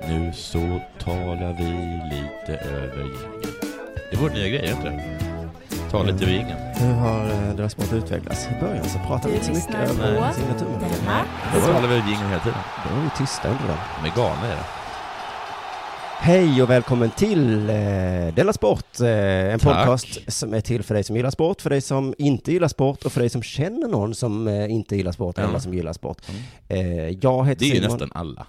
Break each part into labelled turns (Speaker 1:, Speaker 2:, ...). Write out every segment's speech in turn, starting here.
Speaker 1: Nu så talar vi lite över jingeln. Det är vår nya grej, inte Ta lite över jingeln.
Speaker 2: Hur har eh, deras sport utvecklats? I början så pratade vi inte så mycket över signaturen.
Speaker 1: Det var alla över jingeln hela tiden.
Speaker 2: Då var vi tysta ändå.
Speaker 1: De är galna är det.
Speaker 2: Hej och välkommen till eh, Della Sport, eh, en
Speaker 1: Tack.
Speaker 2: podcast som är till för dig som gillar sport, för dig som inte gillar sport och för dig som känner någon som eh, inte gillar sport,
Speaker 1: Ja. Mm.
Speaker 2: eller som gillar sport. Eh, jag heter
Speaker 1: Det är ju
Speaker 2: Simon.
Speaker 1: nästan alla.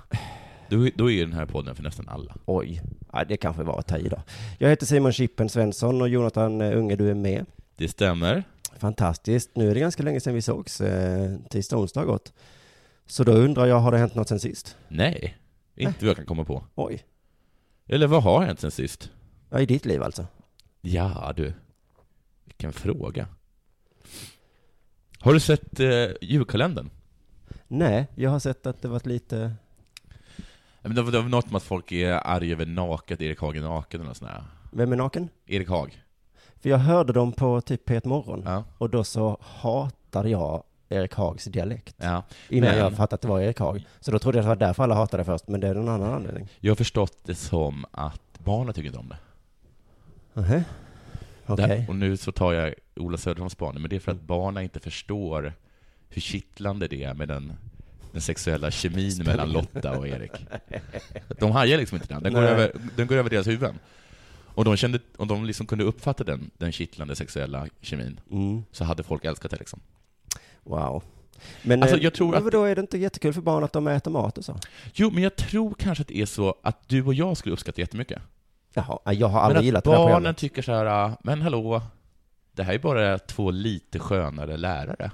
Speaker 1: Då, då är ju den här podden för nästan alla.
Speaker 2: Oj, ja, det kanske var att ta i då. Jag heter Simon Chippen Svensson och Jonathan eh, Unge, du är med.
Speaker 1: Det stämmer.
Speaker 2: Fantastiskt. Nu är det ganska länge sedan vi sågs, eh, tisdag och onsdag har gått. Så då undrar jag, har det hänt något sen sist?
Speaker 1: Nej, inte vad jag kan komma på.
Speaker 2: Oj,
Speaker 1: Eller vad har hänt sen sist?
Speaker 2: ja, i ditt liv alltså.
Speaker 1: Ja du, vilken fråga. Har du sett eh, julkalendern?
Speaker 2: Nej, jag har sett att det varit lite...
Speaker 1: Ja, men Det var det var något om att folk är arga över naket, Erik Haag är naken eller något sånt där.
Speaker 2: Vem är naken?
Speaker 1: Erik Haag.
Speaker 2: För jag hörde dem på typ P1 Morgon.
Speaker 1: Ja.
Speaker 2: Och då så hatade jag Erik Hags dialekt.
Speaker 1: ja.
Speaker 2: Innan
Speaker 1: Men-
Speaker 2: jag fattat att det var Erik Hag. Så då trodde jag att det var därför alla hatade det först, men det är någon annan anledning.
Speaker 1: Jag har förstått det som att barnen tycker inte om det.
Speaker 2: Nähä. Okej. Mm.
Speaker 1: Där- Och nu så tar jag Ola Söderholms spaning, men det är för att barnen inte förstår hur kittlande det är med den, den sexuella kemin mellan Lotta och Erik. De hajar liksom inte den, den går,
Speaker 2: Nej.
Speaker 1: över, den går över deras huvuden. Och de, kände, och de liksom kunde uppfatta den, den kittlande sexuella kemin,
Speaker 2: Mm.
Speaker 1: så hade folk älskat det liksom.
Speaker 2: Wow. Men
Speaker 1: Alltså,
Speaker 2: eh,
Speaker 1: jag tror
Speaker 2: men
Speaker 1: att-
Speaker 2: vadå, är det inte jättekul för barn att de äter mat och så?
Speaker 1: Jo, men jag tror kanske att det är så att du och jag skulle uppskatta det jättemycket.
Speaker 2: Jaha, jag har
Speaker 1: Men
Speaker 2: aldrig
Speaker 1: att
Speaker 2: gillat det här
Speaker 1: barnen
Speaker 2: programmet.
Speaker 1: tycker så här, "Ah, men hallå, det här är bara två lite skönare lärare.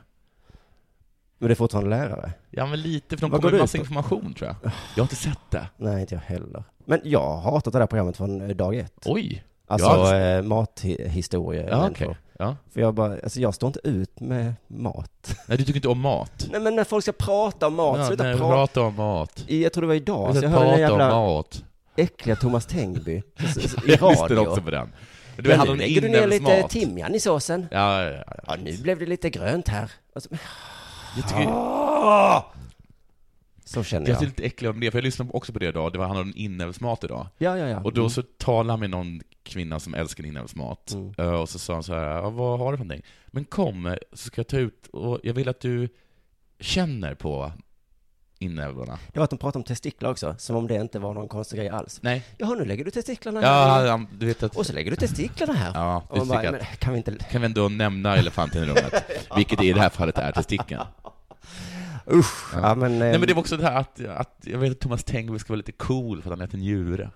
Speaker 2: Men det är fortfarande lärare?
Speaker 1: Ja, men lite, för de kommer
Speaker 2: Vad går
Speaker 1: med
Speaker 2: det
Speaker 1: massa
Speaker 2: ut på? Öh.
Speaker 1: information tror jag. Jag har inte sett det.
Speaker 2: Nej, inte jag heller. Men jag har hatat det här programmet från eh, dag ett.
Speaker 1: Oj!
Speaker 2: Alltså
Speaker 1: Ja.
Speaker 2: eh, mathistoria.
Speaker 1: Ja,
Speaker 2: människor.
Speaker 1: okej. Ja.
Speaker 2: För jag bara, alltså jag står inte ut med mat.
Speaker 1: Nej, du tycker inte om mat?
Speaker 2: Nej men när folk ska prata om mat,
Speaker 1: Ja,
Speaker 2: sluta
Speaker 1: nej,
Speaker 2: prata.
Speaker 1: prata om mat.
Speaker 2: I- Jag tror det var idag, så jag hörde den
Speaker 1: prata om
Speaker 2: jävla
Speaker 1: mat.
Speaker 2: äckliga Thomas Tengby s- s- i
Speaker 1: Jag lyssnade också
Speaker 2: radio.
Speaker 1: på den. Men Du
Speaker 2: Men
Speaker 1: hade
Speaker 2: nu
Speaker 1: en
Speaker 2: lägger du ner lite
Speaker 1: inälvsmat.
Speaker 2: timjan i såsen.
Speaker 1: Ja, ja, ja.
Speaker 2: Ja, nu blev det lite grönt här. Alltså, Och så-
Speaker 1: Jag tycker,
Speaker 2: Så känner
Speaker 1: jag är
Speaker 2: jag.
Speaker 1: lite äcklig om det, för jag lyssnade också på det idag. Det var han om inälvsmat idag.
Speaker 2: Ja, ja, ja.
Speaker 1: Och då så talade han med någon kvinna som älskar inälvsmat.
Speaker 2: Mm.
Speaker 1: Eh, Och så sa han så här, "Ja, vad har du för någonting? Men kom, eh, så ska jag ta ut, och jag vill att du känner på inälvorna.
Speaker 2: Det var att de pratade om testiklar också, som om det inte var någon konstig grej alls.
Speaker 1: Nej.
Speaker 2: Jaha, nu lägger du testiklarna
Speaker 1: Ja,
Speaker 2: här.
Speaker 1: han- du vet att...
Speaker 2: Och så lägger du testiklarna här.
Speaker 1: Ja,
Speaker 2: och man
Speaker 1: det tycker
Speaker 2: bara,
Speaker 1: jag
Speaker 2: men
Speaker 1: att-
Speaker 2: kan vi inte...
Speaker 1: Kan vi ändå nämna elefanten i rummet, vilket i det här fallet är testikeln.
Speaker 2: Usch. Ja, men... eh,
Speaker 1: Nej men det var också det här att, att jag vet att Thomas Tengby ska vara lite cool för att han äter njure.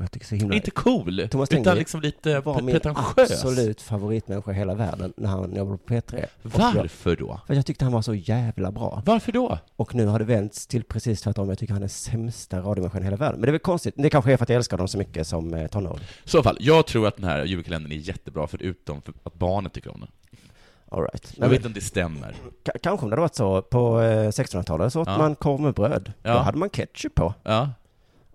Speaker 2: Jag tycker så himla...
Speaker 1: Inte cool,
Speaker 2: Thomas
Speaker 1: utan
Speaker 2: Tengby
Speaker 1: liksom lite
Speaker 2: var
Speaker 1: pre-
Speaker 2: min
Speaker 1: pretentiös.
Speaker 2: absolut favoritmänniska i hela världen när han jobbade på P3. Och Jag,
Speaker 1: Varför då?
Speaker 2: för jag tyckte han var så jävla bra.
Speaker 1: Varför då?
Speaker 2: Och nu har det vänts till precis tvärtom. Jag tycker han är sämsta radiomänniskan i hela världen. Men det är väl konstigt. Det kanske är för att jag älskar honom så mycket som eh, tonåring.
Speaker 1: I så fall, jag tror att den här julkalendern är jättebra förutom för att barnen tycker om den.
Speaker 2: All right.
Speaker 1: Jag vet
Speaker 2: Nej, men,
Speaker 1: inte om det stämmer.
Speaker 2: ka- kanske om det hade varit så på eh, 1600-talet så åt
Speaker 1: Ja.
Speaker 2: man korv med bröd. Då
Speaker 1: Ja.
Speaker 2: hade man ketchup på.
Speaker 1: Ja,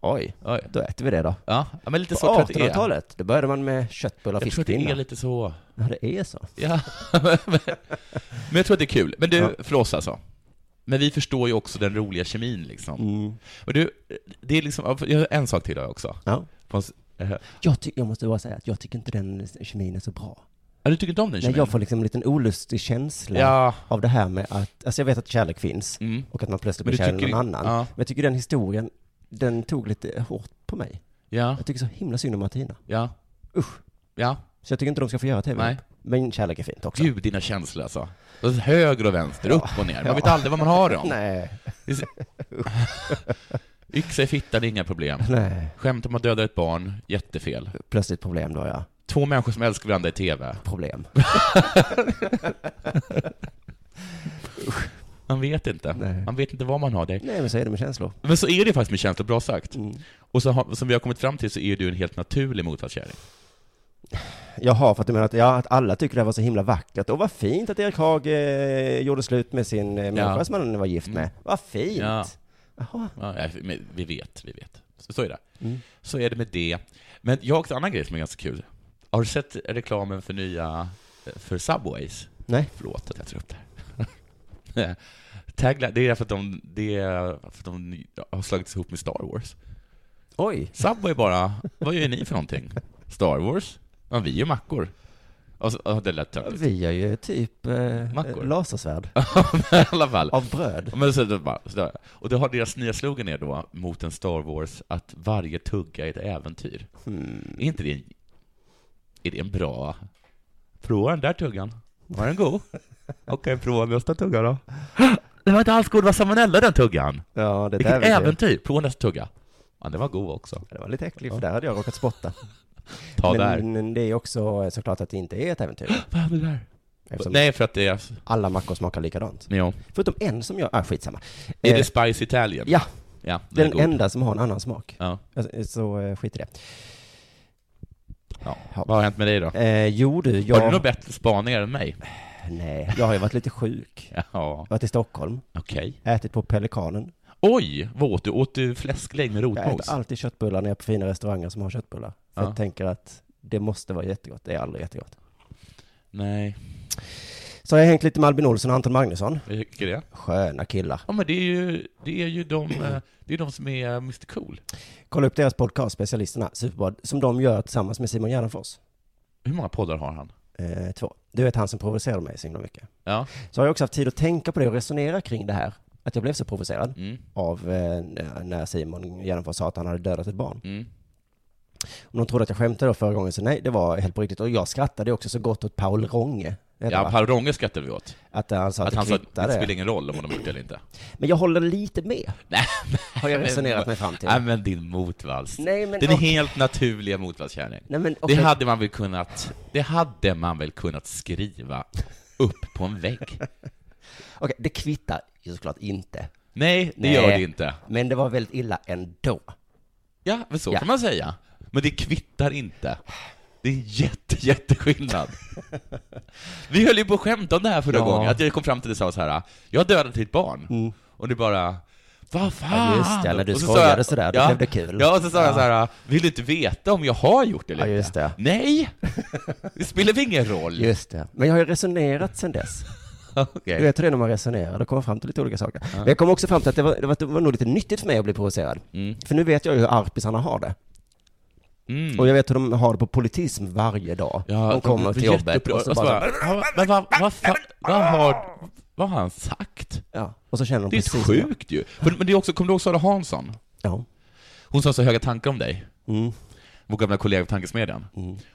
Speaker 2: Oj,
Speaker 1: oj.
Speaker 2: då äter vi det då.
Speaker 1: Ja, ja, men lite
Speaker 2: På
Speaker 1: så tror jag att det är.
Speaker 2: 1800-talet, då började man med köttbullar och
Speaker 1: Jag tror att det är
Speaker 2: fiskpinnar.
Speaker 1: lite så.
Speaker 2: Ja, det är så.
Speaker 1: Ja, men, men jag tror att det är kul. Men du,
Speaker 2: Ja.
Speaker 1: för oss alltså. Men vi förstår ju också den roliga kemin liksom.
Speaker 2: Mm.
Speaker 1: Och du, det är liksom, jag har en sak till har jag också.
Speaker 2: Ja.
Speaker 1: På en s- eh,
Speaker 2: Jag, ty- jag måste bara säga att jag tycker inte den kemin är så bra.
Speaker 1: Ja, du tycker inte om den
Speaker 2: Nej,
Speaker 1: kemin?
Speaker 2: jag får liksom en liten olustig känsla
Speaker 1: Ja.
Speaker 2: av det här med att, alltså jag vet att kärlek finns
Speaker 1: Mm.
Speaker 2: och att man plötsligt
Speaker 1: Men
Speaker 2: blir
Speaker 1: du
Speaker 2: kär i någon
Speaker 1: tycker-
Speaker 2: annan.
Speaker 1: ja.
Speaker 2: Men jag tycker den historien, den tog lite hårt på mig.
Speaker 1: Ja,
Speaker 2: Jag tycker så himla synd om Martina.
Speaker 1: ja,
Speaker 2: Usch.
Speaker 1: ja.
Speaker 2: Så jag tycker inte de ska få göra tv.
Speaker 1: Nej.
Speaker 2: Men kärlek är fint också.
Speaker 1: Gud, dina känslor alltså. Det är Höger och vänster, upp och ner. Man vet aldrig vad man har dem.
Speaker 2: Nej.
Speaker 1: Det är så- Yxa i fitta, det är inga problem.
Speaker 2: Nej.
Speaker 1: Skämt om att döda ett barn, jättefel.
Speaker 2: Plötsligt problem då ja.
Speaker 1: Två människor som älskar varandra i TV.
Speaker 2: Problem.
Speaker 1: Man vet inte.
Speaker 2: Nej.
Speaker 1: Man vet inte vad man har det.
Speaker 2: Nej men så är det med känslor.
Speaker 1: Men så är det faktiskt med känslor, bra sagt. Och så har, som vi har kommit fram till så är du en helt naturlig motsatskärring.
Speaker 2: Jaha, för att du menar att, ja, att alla tycker det här var så himla vackert. Och vad fint att Erik Haag eh, gjorde slut med sin eh, människa som han var gift med. Vad fint!
Speaker 1: Mm. Ja.
Speaker 2: Jaha.
Speaker 1: Ja, nej, men vi vet, vi vet. Så, så är det. Så är det med det. Men jag har också en annan grej som är ganska kul. Har du sett reklamen för nya, eh, för Subways?
Speaker 2: Nej.
Speaker 1: Förlåt att jag tar upp det här. Tagline, det är för att de, det är för att de har slagits ihop med Star Wars.
Speaker 2: Oj!
Speaker 1: Subway bara, vad gör ni för någonting? Star Wars? Ja, vi gör mackor. Och så, ja, det lät töntigt.
Speaker 2: Vi är ju typ eh,
Speaker 1: Mackor.
Speaker 2: lasersvärd
Speaker 1: I alla fall.
Speaker 2: av bröd.
Speaker 1: Men så, det bara, så där. Och det har deras nya slogan är då, mot en Star Wars, att varje tugga är ett äventyr.
Speaker 2: Hmm.
Speaker 1: Är inte det en, är det en bra... Prova den där tuggan. Var den god? Okej, prova nästa tugga då. Det var inte alls god, det var salmonella den tuggan.
Speaker 2: Ja, det där
Speaker 1: Vilket
Speaker 2: vet jag.
Speaker 1: äventyr! Prova nästa tugga. Ja, den var god också.
Speaker 2: Det var lite äckligt, för där hade jag råkat spotta.
Speaker 1: Ta där.
Speaker 2: Men det är ju också eh, såklart att det inte är ett äventyr.
Speaker 1: Vad hände där?
Speaker 2: Eftersom
Speaker 1: Nej, för att det är...
Speaker 2: alla mackor smakar likadant.
Speaker 1: Ja.
Speaker 2: Förutom en som gör, ah skitsamma.
Speaker 1: Är
Speaker 2: Eh,
Speaker 1: det Spice Italien?
Speaker 2: Ja,
Speaker 1: ja den
Speaker 2: det
Speaker 1: är
Speaker 2: är den
Speaker 1: god.
Speaker 2: enda som har en annan smak.
Speaker 1: Ja.
Speaker 2: Alltså, eh, Så eh, skit i det.
Speaker 1: Ja. Vad har hänt med dig då?
Speaker 2: Eh, jo du, jag...
Speaker 1: Har du några bättre spaningar än mig?
Speaker 2: Nej, jag har ju varit lite sjuk. Jag
Speaker 1: Ja,
Speaker 2: har varit i Stockholm,
Speaker 1: okej.
Speaker 2: ätit på Pelikanen.
Speaker 1: Oj, vad åt du? Åt du fläsklägg med
Speaker 2: Jag
Speaker 1: rotmos?
Speaker 2: äter alltid köttbullar när jag är på fina restauranger som har köttbullar. För
Speaker 1: Ja.
Speaker 2: jag tänker att det måste vara jättegott. Det är aldrig jättegott.
Speaker 1: Nej,
Speaker 2: Så har jag hängt lite med Albin Olsson och Anton Magnusson.
Speaker 1: jag tycker det.
Speaker 2: Sköna killar.
Speaker 1: Ja, men det är ju, det är ju de, eh, det är de som är Mr Cool.
Speaker 2: Kolla upp deras podcast, Specialisterna, Superbad, som de gör tillsammans med Simon Gärdenfors.
Speaker 1: Hur många poddar har han?
Speaker 2: Eh, två. Du vet han som provocerade mig så himla mycket.
Speaker 1: Ja.
Speaker 2: Så har jag också haft tid att tänka på det och resonera kring det här. Att jag blev så provocerad
Speaker 1: Mm,
Speaker 2: av eh, när Simon Gärdenfors sa att han hade dödat ett barn.
Speaker 1: mm.
Speaker 2: Om de trodde att jag skämtade då förra gången, så nej, det var helt på riktigt. Och jag skrattade också så gott åt Paul Ronge. heter
Speaker 1: Ja,
Speaker 2: han, va?
Speaker 1: Paul Ronge skrattade vi åt.
Speaker 2: att han sa att,
Speaker 1: Att han sa
Speaker 2: det
Speaker 1: att det
Speaker 2: kvittade.
Speaker 1: spelar ingen roll om de har gjort det eller inte.
Speaker 2: Men jag håller lite med,
Speaker 1: Nej,
Speaker 2: har jag resonerat mig fram till.
Speaker 1: Nej, men din motvals.
Speaker 2: Nej, men
Speaker 1: Den är
Speaker 2: okej.
Speaker 1: helt naturliga motvallskärring.
Speaker 2: Nej, men okej.
Speaker 1: Det hade man väl kunnat, det hade man väl kunnat skriva upp på en vägg?
Speaker 2: Okej, det kvittar ju såklart inte.
Speaker 1: Nej, det gör det inte.
Speaker 2: Men det var väldigt illa ändå.
Speaker 1: Ja, men så
Speaker 2: Ja.
Speaker 1: kan man säga. Men det kvittar inte. Det är en jätte, jätteskillnad. Vi höll ju på att skämta om det här förra
Speaker 2: Ja. Mm.
Speaker 1: gången, att jag kom fram till det och sa så här, jag har dödat ditt barn. Och du bara, vad fan?
Speaker 2: Ja, just det, när du
Speaker 1: Och så
Speaker 2: skojade
Speaker 1: sa jag-
Speaker 2: sådär, då blev det kul.
Speaker 1: Ja, och så sa jag så här, vill du inte veta om jag har gjort det eller inte?"
Speaker 2: Ja, just det.
Speaker 1: Nej! Det spelar väl ingen roll?
Speaker 2: Just det. Men jag har ju resonerat sen dess.
Speaker 1: Okej.
Speaker 2: Du vet hur det är när man resonerar, då kommer man fram till lite olika saker. Men jag kom också fram till att det var, det, var, det var nog lite nyttigt för mig att bli provocerad. För nu vet jag ju hur arpisarna har det.
Speaker 1: Mm.
Speaker 2: Och jag vet hur de har det på politism varje dag. de kommer
Speaker 1: blir
Speaker 2: till jobbet
Speaker 1: jätteupprörda. Alltså,
Speaker 2: och så, bara, så, här,
Speaker 1: "Ja, men vad, vad, fan- vad, har, vad har han sagt?
Speaker 2: ja. och så känner de
Speaker 1: Det är
Speaker 2: precis som jag.
Speaker 1: sjukt ju. Men, men det är också, kommer du ihåg Sara Hansson?
Speaker 2: Ja.
Speaker 1: Hon sa så höga tankar om dig.
Speaker 2: Mm.
Speaker 1: Vår gamla kollega på Tankesmedjan.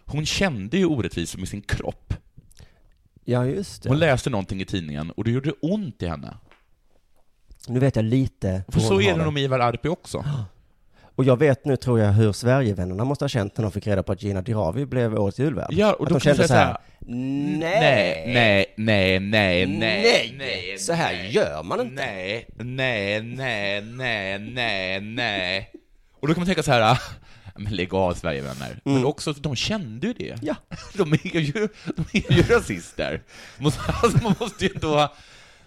Speaker 1: Hon kände ju orättvisor med sin kropp.
Speaker 2: ja, just det.
Speaker 1: Hon läste någonting i tidningen och det gjorde ont i henne.
Speaker 2: Nu vet jag lite
Speaker 1: För
Speaker 2: hur
Speaker 1: så
Speaker 2: hon
Speaker 1: är
Speaker 2: har
Speaker 1: det nog med Ivar Arpi också.
Speaker 2: Och jag vet nu, tror jag, hur Sverigevännerna måste ha känt när de fick reda på att Gina Dirawi blev årets julvärd.
Speaker 1: Ja, och
Speaker 2: att
Speaker 1: då
Speaker 2: de
Speaker 1: kan man säga
Speaker 2: kände så här,
Speaker 1: Nej,
Speaker 2: nej,
Speaker 1: nej, nej, nej, nej, nej.
Speaker 2: så här gör man inte.
Speaker 1: Nej, nej, nej, nej, nej, nej. Och då kan man tänka så här, ah, men lägg av Sverigevänner. Men också, de kände ju det.
Speaker 2: Ja.
Speaker 1: De är ju, de är ju rasister. Måste, alltså, man måste ju ändå...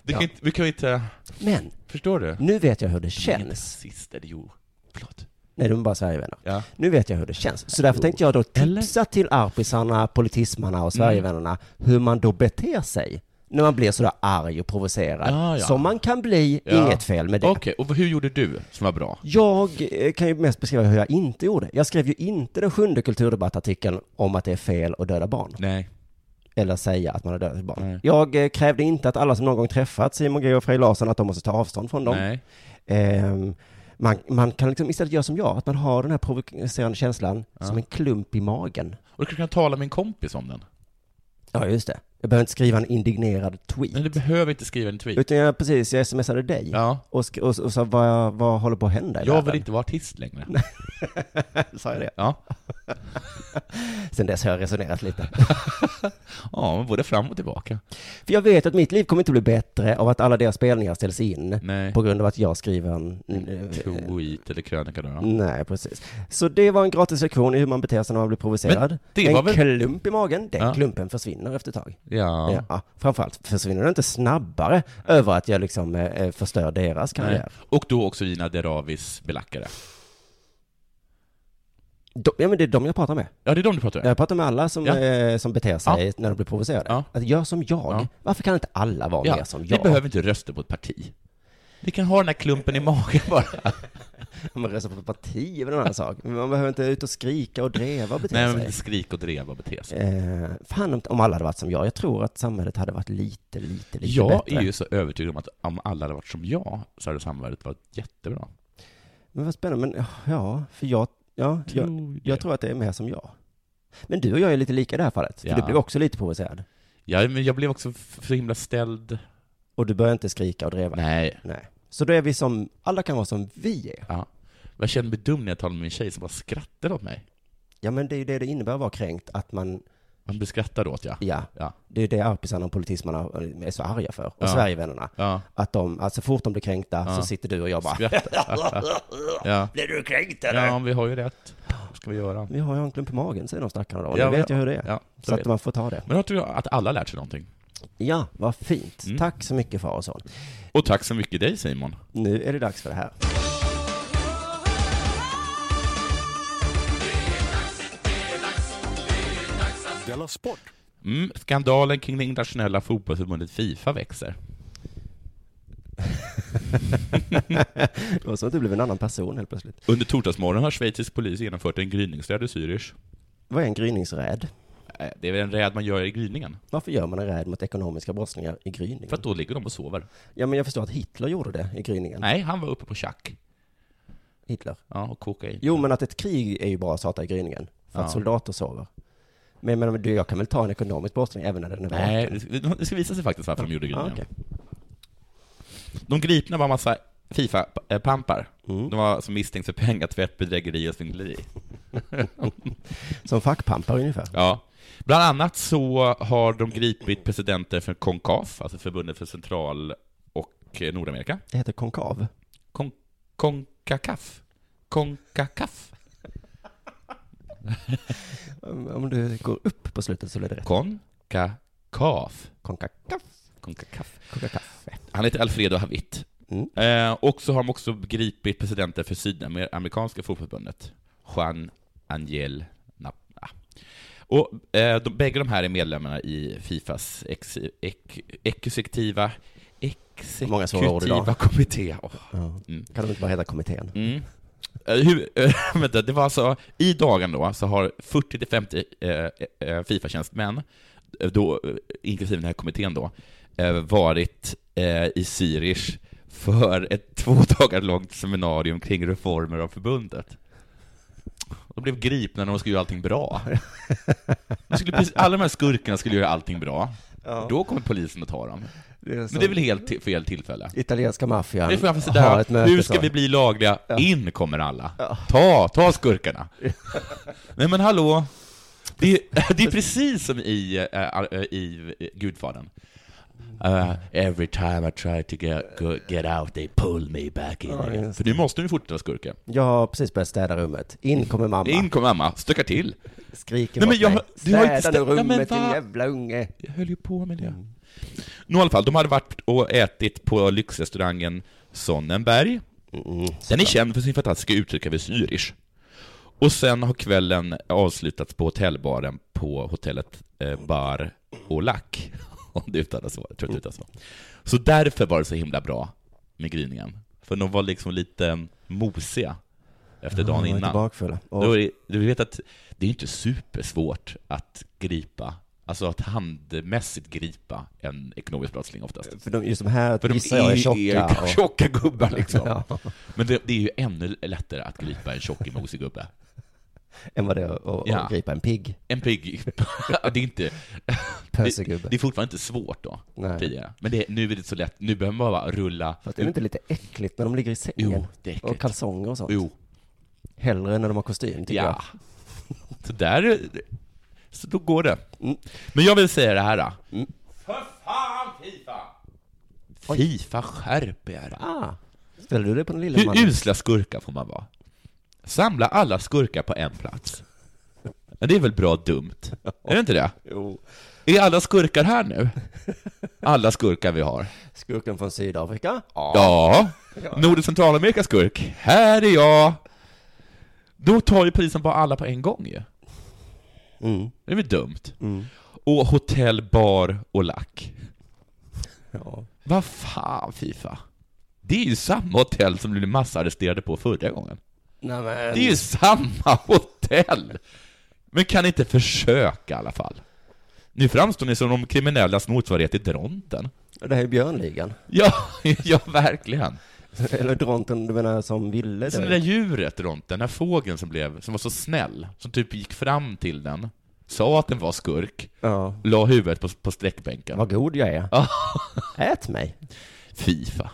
Speaker 1: Det kan
Speaker 2: Ja.
Speaker 1: inte, vi kan ju inte...
Speaker 2: Men,
Speaker 1: Förstår du?
Speaker 2: nu vet jag hur det
Speaker 1: Inte
Speaker 2: känns.
Speaker 1: Rasister, jo. Förlåt.
Speaker 2: Nej, de är bara Sverigevänner.
Speaker 1: Ja.
Speaker 2: Nu vet jag hur det känns. Så därför tänkte jag då tipsa till arpisarna, politismarna
Speaker 1: Mm.
Speaker 2: och Sverigevännerna hur man då beter sig när man blir sådär arg och provocerad.
Speaker 1: Ja, ja.
Speaker 2: Som man kan bli,
Speaker 1: Ja.
Speaker 2: inget fel med det.
Speaker 1: Okej, och hur gjorde du som var bra?
Speaker 2: Jag eh, kan ju mest beskriva hur jag inte gjorde. Jag skrev ju inte den sjunde kulturdebattartikeln om att det är fel att döda barn.
Speaker 1: Nej.
Speaker 2: eller säga att man har dödat ett barn.
Speaker 1: Nej.
Speaker 2: Jag eh, krävde inte att alla som någon gång träffat Simon G och Frej Larsson att de måste ta avstånd från dem.
Speaker 1: Nej.
Speaker 2: Ehm, man, man kan liksom istället göra som jag, att man har den här provocerande känslan som en klump i magen.
Speaker 1: Och du kanske kan tala med en kompis om den.
Speaker 2: Ja, just det. Jag behöver inte skriva en indignerad tweet.
Speaker 1: Nej, du behöver inte skriva en tweet.
Speaker 2: Utan jag precis, jag smsade dig
Speaker 1: Ja.
Speaker 2: och, sk- och, och sa vad, vad håller på att hända i
Speaker 1: Jag vill
Speaker 2: världen?
Speaker 1: inte vara artist längre.
Speaker 2: Sa jag det?
Speaker 1: Ja.
Speaker 2: Sen dess har jag resonerat lite.
Speaker 1: Ja, men både fram och tillbaka.
Speaker 2: För jag vet att mitt liv kommer inte bli bättre av att alla deras spelningar ställs in
Speaker 1: Nej.
Speaker 2: på grund av att jag skriver en... eh,
Speaker 1: Tweet eller krönika då. då.
Speaker 2: Nej, precis. Så det var en gratis lektion i hur man beter sig när man blir provocerad.
Speaker 1: Men det var
Speaker 2: en
Speaker 1: väl-
Speaker 2: klump i magen, den
Speaker 1: Ja.
Speaker 2: klumpen försvinner efter ett tag.
Speaker 1: Ja.
Speaker 2: Eh, Ja. framförallt försvinner den inte snabbare över att jag liksom eh, eh, förstör deras
Speaker 1: Nej.
Speaker 2: karriär.
Speaker 1: Och då också Gina Deravis belackare.
Speaker 2: De, ja, men det är de jag pratar med.
Speaker 1: Ja, det är de du pratar med?
Speaker 2: Jag pratar med alla som,
Speaker 1: Ja.
Speaker 2: eh, som beter sig när de blir provocerade.
Speaker 1: Ja.
Speaker 2: Att gör som jag.
Speaker 1: Ja.
Speaker 2: Varför kan inte alla vara
Speaker 1: Ja,
Speaker 2: mer som
Speaker 1: vi
Speaker 2: jag?
Speaker 1: behöver inte rösta på ett parti. Vi kan ha den här klumpen i
Speaker 2: Eh,
Speaker 1: magen bara.
Speaker 2: Man röstar på ett parti är väl en annan sak. Men man behöver inte ut och skrika och dreva och bete
Speaker 1: Nej,
Speaker 2: sig.
Speaker 1: men skrik och dreva och bete sig.
Speaker 2: Eh, fan om- om alla hade varit som jag. Jag tror att samhället hade varit lite, lite, Eh, lite
Speaker 1: Jag
Speaker 2: bättre.
Speaker 1: är ju så övertygad om att om alla hade varit som jag, så hade samhället varit jättebra.
Speaker 2: Men vad spännande. Men ja, för jag, ja,
Speaker 1: Mm.
Speaker 2: jag, jag tror att det är mer som jag. Men du och jag är lite lika i det här fallet. För
Speaker 1: Ja.
Speaker 2: du blev också lite provocerad.
Speaker 1: Ja, men jag blev också f- så himla ställd.
Speaker 2: Och du började inte skrika och dreva.
Speaker 1: Nej.
Speaker 2: Nej. Så då är vi som, alla kan vara som vi är.
Speaker 1: Ja. Jag kände mig dum när jag talade med min tjej som bara skrattade åt mig.
Speaker 2: Ja men det är ju det det innebär att vara kränkt, att man,
Speaker 1: Man blir skrattad åt, ja.
Speaker 2: ja,
Speaker 1: Ja.
Speaker 2: det är det arpisarna och politismarna eh, är så arga för. Och
Speaker 1: Ja.
Speaker 2: Sverigevännerna.
Speaker 1: Ja.
Speaker 2: Att de, alltså så fort de blir kränkta så sitter du och jag bara,
Speaker 1: ja.
Speaker 2: blev du kränkt eller?
Speaker 1: Ja, vi har ju rätt. Vad ska vi göra?
Speaker 2: Vi har ju en klump i magen säger de stackarna då, och
Speaker 1: Ja,
Speaker 2: det vet
Speaker 1: men-
Speaker 2: jag hur det är.
Speaker 1: ja, det
Speaker 2: så att
Speaker 1: vet
Speaker 2: man får ta det.
Speaker 1: Men jag tror att alla lärt sig någonting.
Speaker 2: Ja, vad fint.
Speaker 1: Mm.
Speaker 2: Tack så mycket far och son.
Speaker 1: Och tack så mycket dig Simon.
Speaker 2: Nu är det dags för det här.
Speaker 3: Della Sport!
Speaker 1: Mm, skandalen kring det internationella fotbollsförbundet Fifa växer.
Speaker 2: Det var så att du blev en annan person helt plötsligt.
Speaker 1: Under torsdagsmorgonen har schweizisk polis genomfört en gryningsräd i Zürich.
Speaker 2: Vad är en gryningsräd?
Speaker 1: Eh, Det är väl en räd man gör i gryningen?
Speaker 2: Varför gör man en räd mot ekonomiska brottslingar i gryningen?
Speaker 1: För att då ligger de och sover.
Speaker 2: Ja, men jag förstår att Hitler gjorde det i gryningen.
Speaker 1: Nej, han var uppe på tjack.
Speaker 2: Hitler.
Speaker 1: Ja, och kokain.
Speaker 2: Jo, men att ett krig är ju bara att starta i gryningen. För att
Speaker 1: Ja.
Speaker 2: soldater sover. Men, men, men du, jag kan väl ta en ekonomisk brottsling även när den är
Speaker 1: Nej,
Speaker 2: vaken?
Speaker 1: det- det ska visa sig faktiskt varför de gjorde
Speaker 2: Ja,
Speaker 1: gryningen.
Speaker 2: okej.
Speaker 1: De gripna var massa Fifa-pampar.
Speaker 2: Mm.
Speaker 1: De var som misstänks för pengatvätt, bedrägeri och svindleri.
Speaker 2: Som fackpampar ungefär.
Speaker 1: Ja. Bland annat så har de gripit presidenten för CONCAF, alltså förbundet för Central och eh, Nordamerika.
Speaker 2: Det heter konkav.
Speaker 1: Kon- CONCACAF. CONCACAF.
Speaker 2: Om om du går upp på slutet så blir det rätt.
Speaker 1: CONCACAF.
Speaker 2: Konkakaff.
Speaker 1: CONCACAF.
Speaker 2: Konkakaffe.
Speaker 1: Han heter Alfredo Havit.
Speaker 2: Mm.
Speaker 1: Eh, och så har de också gripit presidenten för Sydamerikanska fotbollförbundet, Juan Angel Napa. Och eh, de, bägge de här är medlemmarna i Fifas ex, ek, exekutiva,
Speaker 2: Många svåra ord
Speaker 1: exekutiva
Speaker 2: idag.
Speaker 1: kommitté. Åh.
Speaker 2: Mm. Kan de inte bara heta kommittén?
Speaker 1: Mm. Eh, hur, eh, vänta, det var alltså, i dagen då så har 40-50 eh, eh, Fifa-tjänstemän, eh, då, eh, inklusive den här kommittén då, eh, varit eh, i Zürich för ett två dagar långt seminarium kring reformer av förbundet. De blev gripna när de skulle göra allting bra. De skulle, precis- alla de här skurkarna skulle göra allting bra. Då kommer polisen och tar dem. Men det är väl helt ti- fel tillfälle?
Speaker 2: Italienska maffian
Speaker 1: Det får jag sitta
Speaker 2: har ett
Speaker 1: där.
Speaker 2: möte
Speaker 1: Hur ska
Speaker 2: så.
Speaker 1: vi bli lagliga? In kommer alla. Ta, ta skurkarna. Nej men hallå. Det är, det är precis som i, eh, eh, i Gudfadern. Eh, every time I try to get, go- get out they pull me back in. again."
Speaker 2: just
Speaker 1: För nu måste de ju fortsätta vara skurkar.
Speaker 2: Jag har precis börjat städa rummet. In kommer mamma.
Speaker 1: In kommer mamma, stökar till.
Speaker 2: Skriker
Speaker 1: Nej, men
Speaker 2: åt
Speaker 1: jag-
Speaker 2: mig.
Speaker 1: du har inte
Speaker 2: Städa nu
Speaker 1: stä- Ja, men
Speaker 2: rummet din
Speaker 1: va?
Speaker 2: jävla unge.
Speaker 1: Jag höll ju på med det.
Speaker 2: Mm.
Speaker 1: Nå, i alla fall, de hade varit och ätit på lyxrestaurangen Sonnenberg. Den är känd för sin fantastiska uttryck över Zürich. Och sen har kvällen avslutats på hotellbaren på hotellet eh, Bar Olak. Om det uttalas så. Jag tror att det uttalas så. Så därför var det så himla bra med gryningen. För de var liksom lite mosiga efter dagen
Speaker 2: De var inte
Speaker 1: innan.
Speaker 2: bakfulla. Och
Speaker 1: Då är, det- du vet att det är inte supersvårt att gripa Alltså att handmässigt gripa en ekonomisk brottsling oftast.
Speaker 2: För de, just de här
Speaker 1: För de
Speaker 2: gissar jag
Speaker 1: är,
Speaker 2: är tjocka.
Speaker 1: är
Speaker 2: och-
Speaker 1: tjocka gubbar liksom.
Speaker 2: Ja,
Speaker 1: Men det, det är ju ännu lättare att gripa en tjock emosig gubbe.
Speaker 2: än vad det är att- att
Speaker 1: Ja.
Speaker 2: att gripa en pigg
Speaker 1: En pigg... det är inte...
Speaker 2: pösegubbe.
Speaker 1: Det är fortfarande inte svårt då,
Speaker 2: Nej.
Speaker 1: tidigare. Men det, nu är det så lätt. Nu behöver man bara rulla...
Speaker 2: Fast är det inte lite äckligt när de ligger i sängen?
Speaker 1: Jo, det är
Speaker 2: och
Speaker 1: äckligt.
Speaker 2: kalsonger och sånt.
Speaker 1: Jo,
Speaker 2: Hellre än när de har kostym, tycker
Speaker 1: ja.
Speaker 2: jag.
Speaker 1: Så där... Så då går det.
Speaker 2: Mm.
Speaker 1: Men jag vill säga det här då. För fan Fifa! Fifa, skärp er!
Speaker 2: Ah, ställer du dig på den lilla
Speaker 1: Hur
Speaker 2: mannen?
Speaker 1: usla skurkar får man vara? Samla alla skurkar på en plats. Men det är väl bra dumt? Är det inte det?
Speaker 2: Jo,
Speaker 1: Är alla skurkar här nu? Alla skurkar vi har.
Speaker 2: skurken från Sydafrika?
Speaker 1: Ja. Nord och Centralamerika skurk. Här är jag. Då tar ju polisen bara alla på en gång ju. Det är väl dumt? Och hotell, bar och lack.
Speaker 2: Ja.
Speaker 1: Vad fan, Fifa? Det är ju samma hotell som du blev massarresterade på förra gången.
Speaker 2: Nej, men...
Speaker 1: Det är ju samma hotell! Men kan inte försöka i alla fall. Nu framstår ni som de kriminellas motsvarighet till Dronten.
Speaker 2: Det här är björnligan.
Speaker 1: Ja, ja verkligen.
Speaker 2: Eller dronten, du menar som ville
Speaker 1: Som det
Speaker 2: dö?
Speaker 1: där djuret runt den här fågeln som blev, som var så snäll, som typ gick fram till den, sa att den var skurk,
Speaker 2: Ja.
Speaker 1: la huvudet på, på sträckbänken.
Speaker 2: Vad god jag är.
Speaker 1: Ja.
Speaker 2: Ät mig.
Speaker 1: Fifa.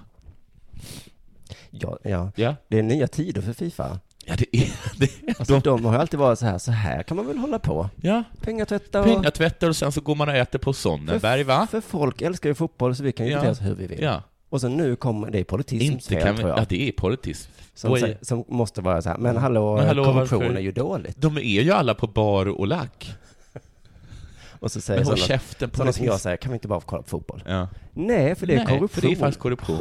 Speaker 2: Ja, ja.
Speaker 1: Ja,
Speaker 2: Det är nya tider för Fifa.
Speaker 1: ja det är... Det är
Speaker 2: Alltså,
Speaker 1: de,
Speaker 2: de... har ju alltid varit så här, så här kan man väl hålla på.
Speaker 1: ja,
Speaker 2: Pengatvätta och...
Speaker 1: pengatvätter och sen så går man och äter på Sonnenberg, va?
Speaker 2: För folk älskar ju fotboll så vi kan ju
Speaker 1: Ja.
Speaker 2: bete oss hur vi vill.
Speaker 1: Ja.
Speaker 2: Och så nu kommer det är politismens
Speaker 1: Inte
Speaker 2: fel
Speaker 1: kan vi...
Speaker 2: tror jag.
Speaker 1: Ja, det är politiskt.
Speaker 2: som,
Speaker 1: Oj.
Speaker 2: sä- som måste vara så här, men hallå,
Speaker 1: Men hallå,
Speaker 2: korruption
Speaker 1: varför-
Speaker 2: är ju dåligt.
Speaker 1: De är ju alla på bar och lack.
Speaker 2: Och så säger
Speaker 1: Men håll
Speaker 2: sådana,
Speaker 1: käften på
Speaker 2: sådana som jag
Speaker 1: det.
Speaker 2: säger, kan vi inte bara kolla på fotboll?
Speaker 1: Ja.
Speaker 2: Nej, för det är
Speaker 1: Nej, för
Speaker 2: korruption.
Speaker 1: det är faktiskt korruption.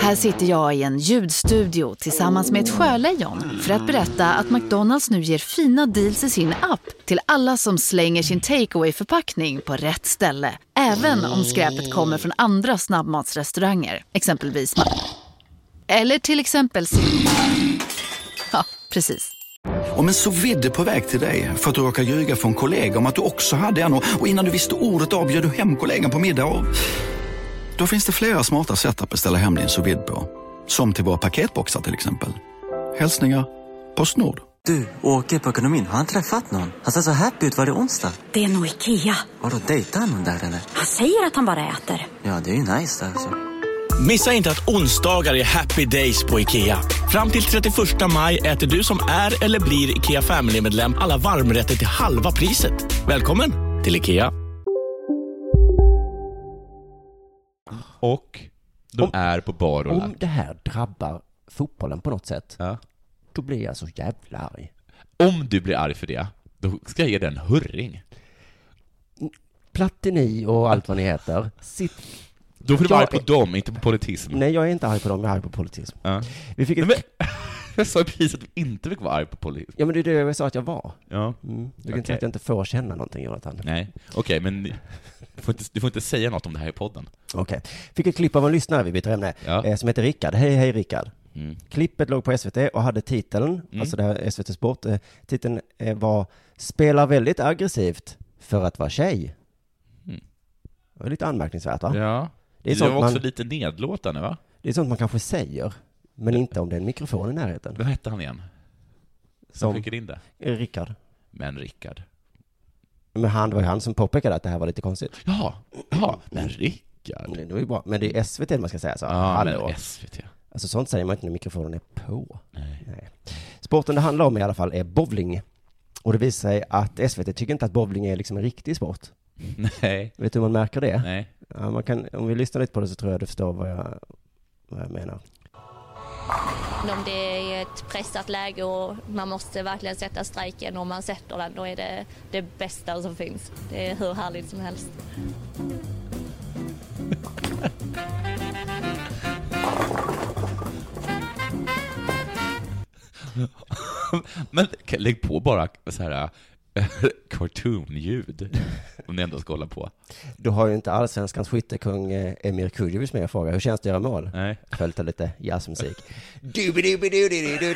Speaker 4: Här sitter jag i en ljudstudio tillsammans med ett sjölejon för att berätta att McDonalds nu ger fina deals i sin app till alla som slänger sin takeaway förpackning på rätt ställe. Även om skräpet kommer från andra snabbmatsrestauranger, exempelvis Ma- Eller till exempel Sim- Ja, precis.
Speaker 5: Om en så vidde på väg till dig för att du råkar ljuga från kollega om att du också hade en och och innan du visste ordet av bjöd du hem kollegan på middag och... Då finns det flera smarta sätt att beställa hem din sous vide på. Som till våra paketboxar till exempel. Hälsningar Postnord.
Speaker 6: Du, åker på ekonomin. Har han träffat någon? Han ser så happy ut. Var det onsdag?
Speaker 7: Det är nog Ikea.
Speaker 6: Har du dejtat någon där eller?
Speaker 7: Han säger att han bara äter.
Speaker 6: Ja, det är ju nice alltså.
Speaker 8: Missa inte att onsdagar är happy days på IKEA. Fram till 31 maj äter du som är eller blir IKEA Family-medlem alla varmrätter till halva priset. Välkommen till IKEA.
Speaker 1: Och de
Speaker 2: Om-
Speaker 1: är på bar och
Speaker 2: Om
Speaker 1: lack.
Speaker 2: det här drabbar fotbollen på något sätt,
Speaker 1: Ja.
Speaker 2: då blir jag så jävla arg.
Speaker 1: Om du blir arg för det, då ska jag ge dig en hurring.
Speaker 2: Platini och allt vad ni heter, sitt...
Speaker 1: Då får du
Speaker 2: Jag
Speaker 1: vara arg på
Speaker 2: är-
Speaker 1: dem, inte på politism.
Speaker 2: Nej, jag är inte arg på dem, jag är arg på politism.
Speaker 1: Ja.
Speaker 2: Vi fick ett...
Speaker 1: Men, jag sa ju precis att du inte fick vara arg på politism.
Speaker 2: Ja, men det är det jag sa att jag var.
Speaker 1: Ja.
Speaker 2: Mm. Du kan
Speaker 1: Okej.
Speaker 2: inte säga att jag inte får känna någonting, Jonathan.
Speaker 1: Nej, okej, men du får, inte, du får inte säga något om det här i podden.
Speaker 2: Okej. Fick ett klipp av en lyssnare, vi byter ämne,
Speaker 1: Ja.
Speaker 2: eh, som heter Rickard. Hej, hej Rickard.
Speaker 1: Mm.
Speaker 2: Klippet låg på SVT och hade titeln, alltså det här SVT Sport, eh, titeln eh, var “Spelar väldigt aggressivt för att vara tjej”.
Speaker 1: Mm.
Speaker 2: Det är lite anmärkningsvärt va?
Speaker 1: Ja.
Speaker 2: Det är
Speaker 1: Det,
Speaker 2: sånt
Speaker 1: var också
Speaker 2: man-
Speaker 1: lite nedlåtande, va?
Speaker 2: Det är sånt man kanske säger, men inte om det är en mikrofon i närheten.
Speaker 1: Vad hette han igen? Som
Speaker 2: Som
Speaker 1: skickade in det?
Speaker 2: eh, Rickard.
Speaker 1: Men Rickard.
Speaker 2: Men han, det var ju han som påpekade att det här var lite konstigt.
Speaker 1: Ja, ja, men Rickard.
Speaker 2: Det var ju bra, men det är SVT man ska säga så.
Speaker 1: Ja,
Speaker 2: Hallå.
Speaker 1: men SVT.
Speaker 2: Alltså sånt säger man inte när mikrofonen är på.
Speaker 1: Nej.
Speaker 2: Sporten det handlar om i alla fall är bowling. Och det visar sig att SVT tycker inte att bowling är liksom en riktig sport.
Speaker 1: Nej.
Speaker 2: Vet du hur man märker det?
Speaker 1: Nej.
Speaker 2: Ja, man kan, om vi lyssnar lite på det så tror jag du förstår vad jag, vad jag menar.
Speaker 7: Om det är ett pressat läge och man måste verkligen sätta strejken och man sätter den, då är det det bästa som finns. Det är hur härligt som helst.
Speaker 1: Men lägg på bara så här cartoon-ljud, om ni ändå ska hålla på.
Speaker 2: Du har ju inte allsvenskans skyttekung eh, Emir Kujovic med och frågar hur känns det att göra mål?
Speaker 1: Nej.
Speaker 2: Följt av lite jazzmusik. Dubidubidudidudu,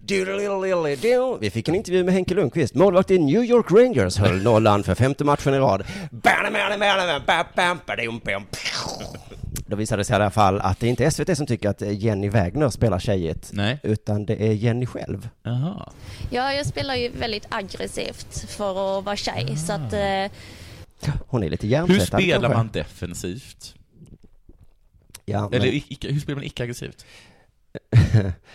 Speaker 2: doodle-diddle-diddle-do. Vi fick en intervju med Henke Lundqvist, målvakt i New York Rangers, höll nollan för femte matchen i rad. Då visade det sig i alla fall att det inte är SVT som tycker att Jenny Wägner spelar tjejigt,
Speaker 1: Nej.
Speaker 2: utan det är Jenny själv.
Speaker 1: Jaha.
Speaker 7: Ja, jag spelar ju väldigt aggressivt för att vara tjej. Så att, eh,
Speaker 2: Hon är lite
Speaker 1: Hur
Speaker 2: hjärntvättad
Speaker 1: spelar
Speaker 2: kanske.
Speaker 1: man defensivt?
Speaker 2: Ja, men,
Speaker 1: Eller icke, hur spelar man icke-aggressivt?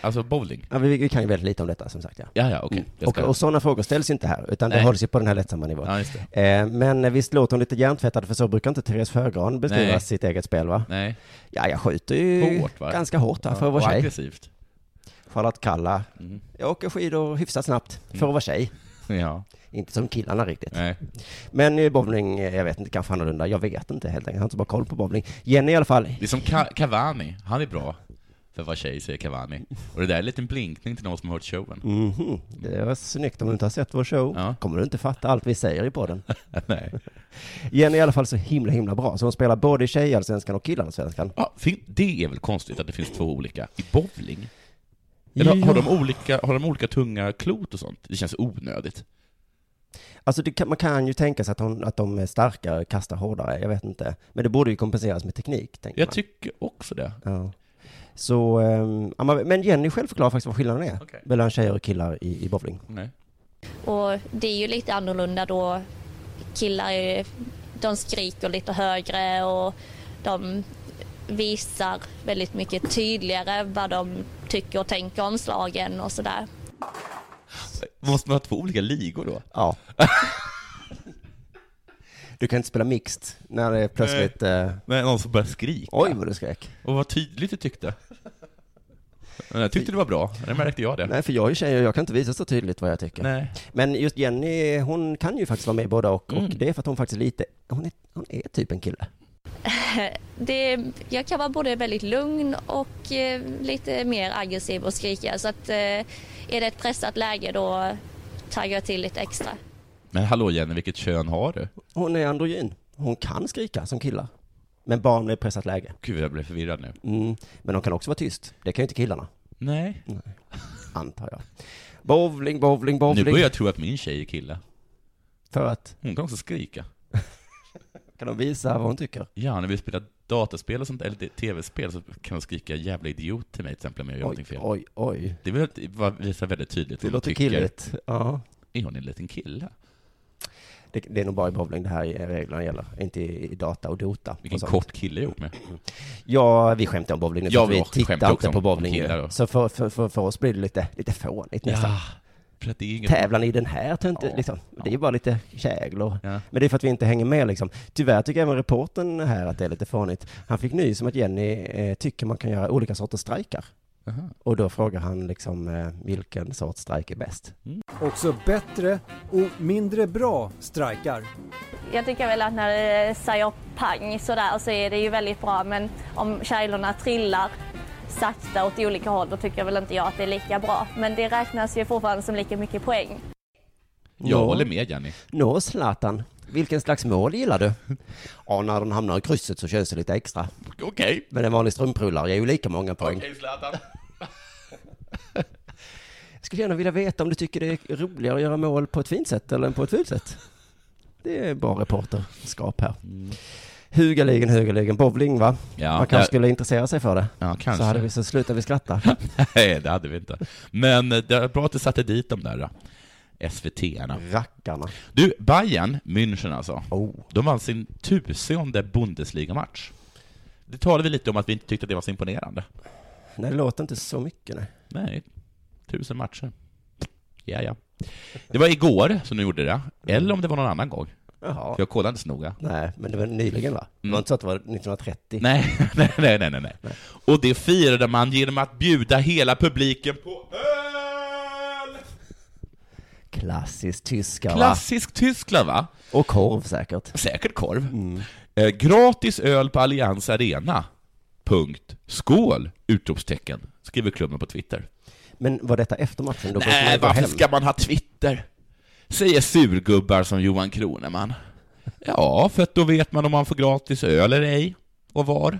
Speaker 1: alltså bowling?
Speaker 2: ja, vi, vi kan ju väldigt lite om detta som sagt. Ja.
Speaker 1: Ja, ja, okej. Jag
Speaker 2: Mm. Och,
Speaker 1: ska-
Speaker 2: och sådana frågor ställs ju inte här, utan det
Speaker 1: Nej.
Speaker 2: hålls ju på den här lättsamma nivån.
Speaker 1: Ja, just det.
Speaker 2: Eh, Men visst låter hon lite hjärntvättad, för så brukar inte Therese Sjögran beskriva
Speaker 1: Nej.
Speaker 2: sitt eget spel va?
Speaker 1: Nej.
Speaker 2: Ja, jag skjuter ju
Speaker 1: Hårt, va?
Speaker 2: ganska hårt här för att
Speaker 1: och
Speaker 2: vara tjej.
Speaker 1: aggressivt.
Speaker 2: Charlotte Kalla.
Speaker 1: Mm.
Speaker 2: Jag åker skidor hyfsat snabbt, för att vara tjej.
Speaker 1: Ja.
Speaker 2: Inte som killarna riktigt.
Speaker 1: Nej.
Speaker 2: Men i bowling, eh, jag vet inte, kanske annorlunda. Jag vet inte helt enkelt, jag har inte så bra koll på bowling. Jenny i alla fall,
Speaker 1: Det är som Ca- Cavani, han är bra för att vara tjej, säger Cavani. Och det där är en liten blinkning till någon som har hört showen.
Speaker 2: Mhm, det var snyggt om du inte har sett vår show.
Speaker 1: Mm. Ja.
Speaker 2: Kommer du inte fatta allt vi säger i podden.
Speaker 1: Nej.
Speaker 2: Jenny är i alla fall så himla, himla bra, så hon spelar både i tjejallsvenskan och killallsvenskan.
Speaker 1: Ja, fin- det är väl konstigt att det finns två olika i bowling? Eller har, de olika, har de olika tunga klot och sånt? Det känns onödigt.
Speaker 2: Alltså det kan, man kan ju tänka sig att, hon, att de är starkare, kastar hårdare, jag vet inte. Men det borde ju kompenseras med teknik, tänker
Speaker 1: Jag
Speaker 2: man.
Speaker 1: tycker också det.
Speaker 2: Ja. Så, ehm, ja, man- men Jenny själv förklarar faktiskt vad skillnaden är
Speaker 1: Okej.
Speaker 2: mellan tjejer och killar i, i bowling.
Speaker 1: Nej.
Speaker 7: och det är ju lite annorlunda då killar är, de skriker lite högre och de visar väldigt mycket tydligare vad de tycker och tänker om slagen och sådär.
Speaker 1: Måste man ha två olika ligor då?
Speaker 2: Ja. du kan inte spela mixed när det är plötsligt, eh,
Speaker 1: Nej, någon som börjar skrika.
Speaker 2: oj vad du skrek.
Speaker 1: Och vad tydligt du tyckte. Men jag tyckte det var bra, det märkte jag det.
Speaker 2: Nej, för jag är ju tjej och jag kan inte visa så tydligt vad jag tycker.
Speaker 1: Nej.
Speaker 2: Men just Jenny, hon kan ju faktiskt vara med i båda och,
Speaker 1: Mm.
Speaker 2: och det är för att hon faktiskt är lite, hon är, hon är typ en kille.
Speaker 7: det, jag kan vara både väldigt lugn och eh, lite mer aggressiv och skrika. Så att, eh, är det ett pressat läge då taggar jag till lite extra.
Speaker 1: Men hallå Jenny, vilket kön har du?
Speaker 2: Hon är androgyn. Hon kan skrika som killar. Men bara om det är pressat läge.
Speaker 1: Gud, jag blev förvirrad nu.
Speaker 2: Mm. Men hon kan också vara tyst. Det kan ju inte killarna,
Speaker 1: Nej.
Speaker 2: antar jag. Bowling, bowling,
Speaker 1: Nu
Speaker 2: bowling.
Speaker 1: börjar jag tro att min tjej är kille.
Speaker 2: För att,
Speaker 1: Hon kan också skrika.
Speaker 2: kan de visa vad hon tycker?
Speaker 1: Ja, när vi spelar dataspel och sånt, eller tv-spel, så kan hon skrika 'jävla idiot' till mig till exempel om jag gör
Speaker 2: Oj,
Speaker 1: någonting fel.
Speaker 2: oj, oj.
Speaker 1: Det vill att- vad visar väldigt tydligt
Speaker 2: Det
Speaker 1: vad hon
Speaker 2: låter
Speaker 1: tycker.
Speaker 2: killigt. Ja.
Speaker 1: Är hon en liten kille?
Speaker 2: Det, det är nog bara i bowling det här reglerna gäller, inte i, i data och dota.
Speaker 1: Vilken
Speaker 2: och sånt.
Speaker 1: kort kille jag gjort med.
Speaker 2: Ja, vi skämtar om bowling nu,
Speaker 1: Ja,
Speaker 2: för
Speaker 1: vi
Speaker 2: vi
Speaker 1: också- skämtar
Speaker 2: tittar
Speaker 1: också
Speaker 2: inte
Speaker 1: om-
Speaker 2: på
Speaker 1: om
Speaker 2: bowling nu.
Speaker 1: killar då.
Speaker 2: Så för, för, för, för oss blir det lite, lite fånigt nästan.
Speaker 1: för att det är inget...
Speaker 2: Tävlar ni i den här tönten?
Speaker 1: Ja.
Speaker 2: Liksom. Det är ju bara lite kägel och...
Speaker 1: Ja.
Speaker 2: Men det är för att vi inte hänger med liksom. Tyvärr tycker även reportern här att det är lite fånigt. Han fick nys om att Jenny eh, tycker man kan göra olika sorters strejkar.
Speaker 1: Aha.
Speaker 2: Och då frågar han liksom eh, vilken sorts strejk är bäst?
Speaker 9: Också bättre och mindre bra strikar.
Speaker 7: Jag tycker väl att när det säger pang sådär så är det ju väldigt bra men om kärlorna trillar sakta åt olika håll då tycker jag väl inte jag att det är lika bra. Men det räknas ju fortfarande som lika mycket poäng.
Speaker 1: Jag håller med Jenny.
Speaker 2: Nå, Zlatan, vilken slags mål gillar du? ja, när den hamnar i krysset så känns det lite extra.
Speaker 1: Okej.
Speaker 2: Men en vanlig strumprullare ger ju lika många poäng.
Speaker 1: Okej, Zlatan.
Speaker 2: Jag skulle gärna vilja veta om du tycker det är roligare att göra mål på ett fint sätt eller på ett fult sätt. Det är bra reporterskap här. Hugaligen, hugaligen, bowling va?
Speaker 1: Mm. Ja,
Speaker 2: Man kanske
Speaker 1: ja.
Speaker 2: skulle intressera sig för det.
Speaker 1: Ja,
Speaker 2: Så
Speaker 1: kanske.
Speaker 2: hade vi så slutar vi skratta.
Speaker 1: Nej, det hade vi inte. Men eh, det är bra att du satte dit de där eh, SVT-erna.
Speaker 2: Rackarna.
Speaker 1: Du, Bayern, München alltså,
Speaker 2: Oh.
Speaker 1: de vann sin tusende Bundesliga-match. Det talade vi lite om att vi inte tyckte att det var så imponerande.
Speaker 2: Nej, det låter inte så mycket nej.
Speaker 1: Nej, tusen matcher. Ja, ja. Det var igår som de gjorde det, eller om det var någon annan gång.
Speaker 2: Jaha.
Speaker 1: Jag kollade inte så noga.
Speaker 2: Nej, men det var nyligen va? Det
Speaker 1: Mm.
Speaker 2: var inte så att det var 1930?
Speaker 1: Nej, nej, nej, nej, nej, nej. Och det firade man genom att bjuda hela publiken på öl!
Speaker 2: Klassiskt tyska va?
Speaker 1: Klassisk Tyskland, va?
Speaker 2: Och korv säkert.
Speaker 1: Säkert korv. Eh, gratis öl på Allians Arena. Punkt. Skål! Utropstecken. Skriver klubben på Twitter.
Speaker 2: Men var detta efter matchen? Då kanske
Speaker 1: Nej,
Speaker 2: man går
Speaker 1: varför
Speaker 2: hem.
Speaker 1: ska man ha Twitter? Säger surgubbar som Johan Kroneman. Ja, för att då vet man om man får gratis öl eller ej. Och var.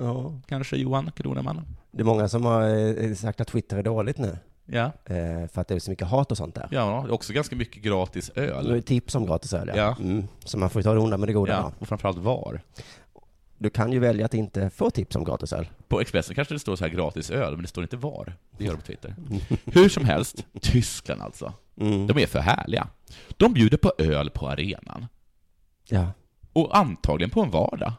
Speaker 2: Ja.
Speaker 1: Kanske Johan Kroneman.
Speaker 2: Det är många som har eh, sagt att Twitter är dåligt nu.
Speaker 1: Ja.
Speaker 2: Eh, för att det är så mycket hat och sånt där.
Speaker 1: Ja, det är också ganska mycket gratis
Speaker 2: Det är
Speaker 1: öl.
Speaker 2: tips om gratis öl, ja.
Speaker 1: Ja.
Speaker 2: Mm. Så man får ju ta det onda med det goda.
Speaker 1: Ja, och framförallt var.
Speaker 2: Du kan ju välja att inte få tips om gratis öl.
Speaker 1: På Expressen kanske det står så här gratis öl, men det står inte var. Det gör det på Twitter. Hur som helst, Tyskland alltså.
Speaker 2: Mm.
Speaker 1: De är för härliga. De bjuder på öl på arenan.
Speaker 2: Ja.
Speaker 1: Och antagligen på en vardag.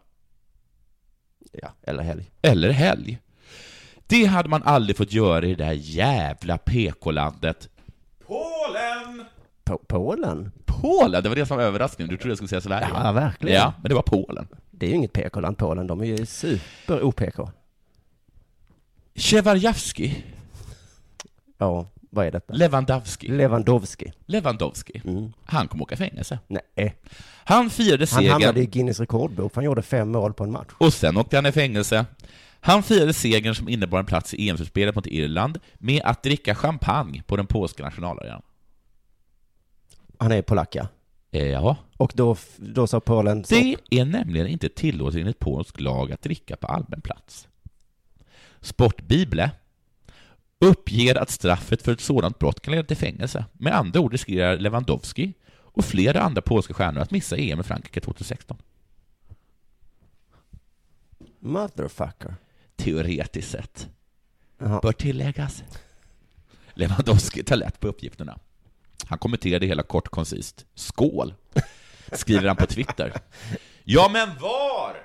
Speaker 2: Ja, eller helg.
Speaker 1: Eller helg. Det hade man aldrig fått göra i det här jävla PK-landet. Polen!
Speaker 2: Polen?
Speaker 1: Polen, det var det som var överraskningen. Du trodde jag skulle säga Sverige.
Speaker 2: Ja, verkligen.
Speaker 1: Ja, men det var Polen.
Speaker 2: Det är ju inget PK-land, Polen. De är ju super-OPK.
Speaker 1: Tjevarjavski,
Speaker 2: Ja, vad är detta?
Speaker 1: Lewandowski,
Speaker 2: Lewandowski.
Speaker 1: Lewandowski. Han kommer åka i fängelse.
Speaker 2: Nej.
Speaker 1: Han firade
Speaker 2: Mm. Han
Speaker 1: segern.
Speaker 2: hamnade i Guinness rekordbok, för han gjorde fem mål på en match.
Speaker 1: Och sen åkte han i fängelse. Han firade segern som innebar en plats i EM-slutspelet mot Irland med att dricka champagne på den polska nationalarenan.
Speaker 2: Han är polack, ja.
Speaker 1: Eh, Ja,
Speaker 2: Och då, f- då sa Polen... så-
Speaker 1: det är nämligen inte tillåtet enligt polsk lag att dricka på allmän plats. Sportbible uppger att straffet för ett sådant brott kan leda till fängelse. Med andra ord riskerar Lewandowski och flera andra polska stjärnor att missa EM i Frankrike 2016.
Speaker 2: Motherfucker.
Speaker 1: Teoretiskt sett.
Speaker 2: Jaha.
Speaker 1: bör tilläggas. Lewandowski tar lätt på uppgifterna. Han kommenterar det hela kort och koncist. Skål! Skriver han på Twitter. Ja, men var?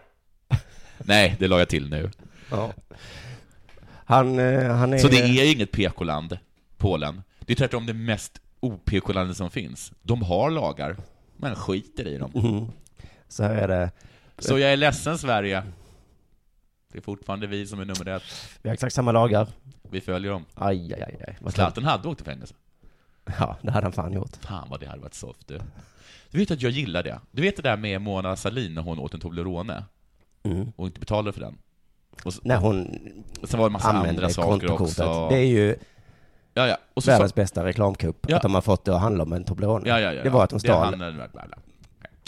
Speaker 1: Nej, det la jag till nu.
Speaker 2: Ja. Han, eh, han är...
Speaker 1: Så det är ju inget PK-land, Polen. Det är tvärtom det mest OPK-landet som finns. De har lagar, men skiter i dem.
Speaker 2: Mm. Så här är det.
Speaker 1: Så jag är ledsen, Sverige. Det är fortfarande vi som är nummer ett.
Speaker 2: Vi har exakt samma lagar.
Speaker 1: Vi följer dem.
Speaker 2: Aj, aj, aj. aj. Vad
Speaker 1: Zlatan hade åkt i fängelse.
Speaker 2: Ja, det hade han fan gjort.
Speaker 1: Fan vad det hade varit soft du. Du vet att jag gillar det. Du vet det där med Mona Sahlin när hon åt en Toblerone
Speaker 2: Mm.
Speaker 1: och inte betalade för den? Och, s-
Speaker 2: När hon
Speaker 1: och sen var det en massa andra
Speaker 2: använder
Speaker 1: saker
Speaker 2: kontokortet.
Speaker 1: också.
Speaker 2: Det är ju
Speaker 1: Ja, ja. Och så,
Speaker 2: världens
Speaker 1: så,
Speaker 2: bästa reklamkupp,
Speaker 1: Ja.
Speaker 2: att de har fått det att handla om en Toblerone.
Speaker 1: ja, ja, ja,
Speaker 2: det var att de
Speaker 1: Det
Speaker 2: stal
Speaker 1: handlade- bla, bla, bla.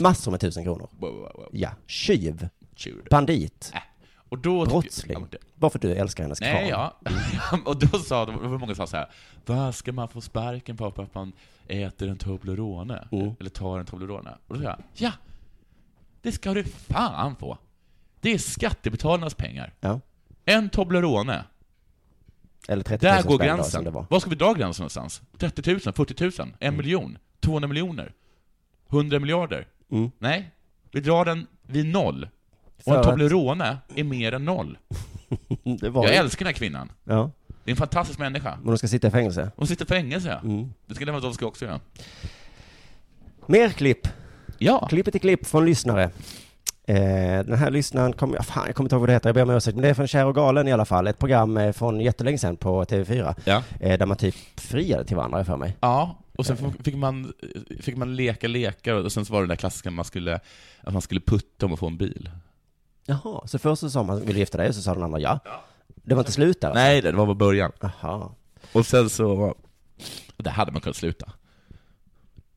Speaker 2: massor med tusen kronor.
Speaker 1: Wow, wow, wow.
Speaker 2: Ja, tjuv,
Speaker 1: Tjur.
Speaker 2: bandit,
Speaker 1: Äh. Och då tycker-
Speaker 2: brottsling.
Speaker 1: Ja, det-
Speaker 2: Bara för att du älskar hennes
Speaker 1: Nej,
Speaker 2: kvarn.
Speaker 1: ja. och då sa de, det var många som sa så här, vad ska man få sparken på för att man äter en Toblerone?
Speaker 2: Mm.
Speaker 1: Eller tar en Toblerone? Och då sa jag, ja, det ska du fan få. Det är skattebetalarnas pengar.
Speaker 2: Ja.
Speaker 1: En Toblerone.
Speaker 2: Eller 30 000
Speaker 1: Där går
Speaker 2: spänn då, som
Speaker 1: gränsen.
Speaker 2: det var.
Speaker 1: Var ska vi dra gränsen någonstans? 30 000? 40 000? En miljon? 200 miljoner? 100 miljarder?
Speaker 2: Mm.
Speaker 1: Nej, vi drar den vid noll. Och
Speaker 2: För
Speaker 1: en
Speaker 2: att-
Speaker 1: Toblerone är mer än noll.
Speaker 2: Det var
Speaker 1: Jag
Speaker 2: ju-
Speaker 1: älskar den här kvinnan.
Speaker 2: Ja,
Speaker 1: Det är en fantastisk människa.
Speaker 2: men de ska sitta i fängelse.
Speaker 1: Hon sitter i fängelse.
Speaker 2: Mm.
Speaker 1: Det ska Lewandowski också göra.
Speaker 2: Mer klipp.
Speaker 1: Ja.
Speaker 2: Klippet är klipp från lyssnare. Eh, den här lyssnaren kommer, ja, fan, jag kommer inte ihåg vad det heter, jag ber om ursäkt, men det är från Kär och galen i alla fall, ett program eh, från jättelänge sedan på TV4,
Speaker 1: Ja.
Speaker 2: eh, där man typ friade till varandra har jag för mig.
Speaker 1: Ja, och sen fick man, fick man leka lekar och sen så var det den där klassiska man skulle, att man skulle putta om att få en bil.
Speaker 2: Jaha, så först så sa man, vill du gifta dig? Och så sa den andra ja. Det var inte slut där?
Speaker 1: Nej, det var bara början.
Speaker 2: Jaha.
Speaker 1: Och sen så... Det hade man kunnat sluta.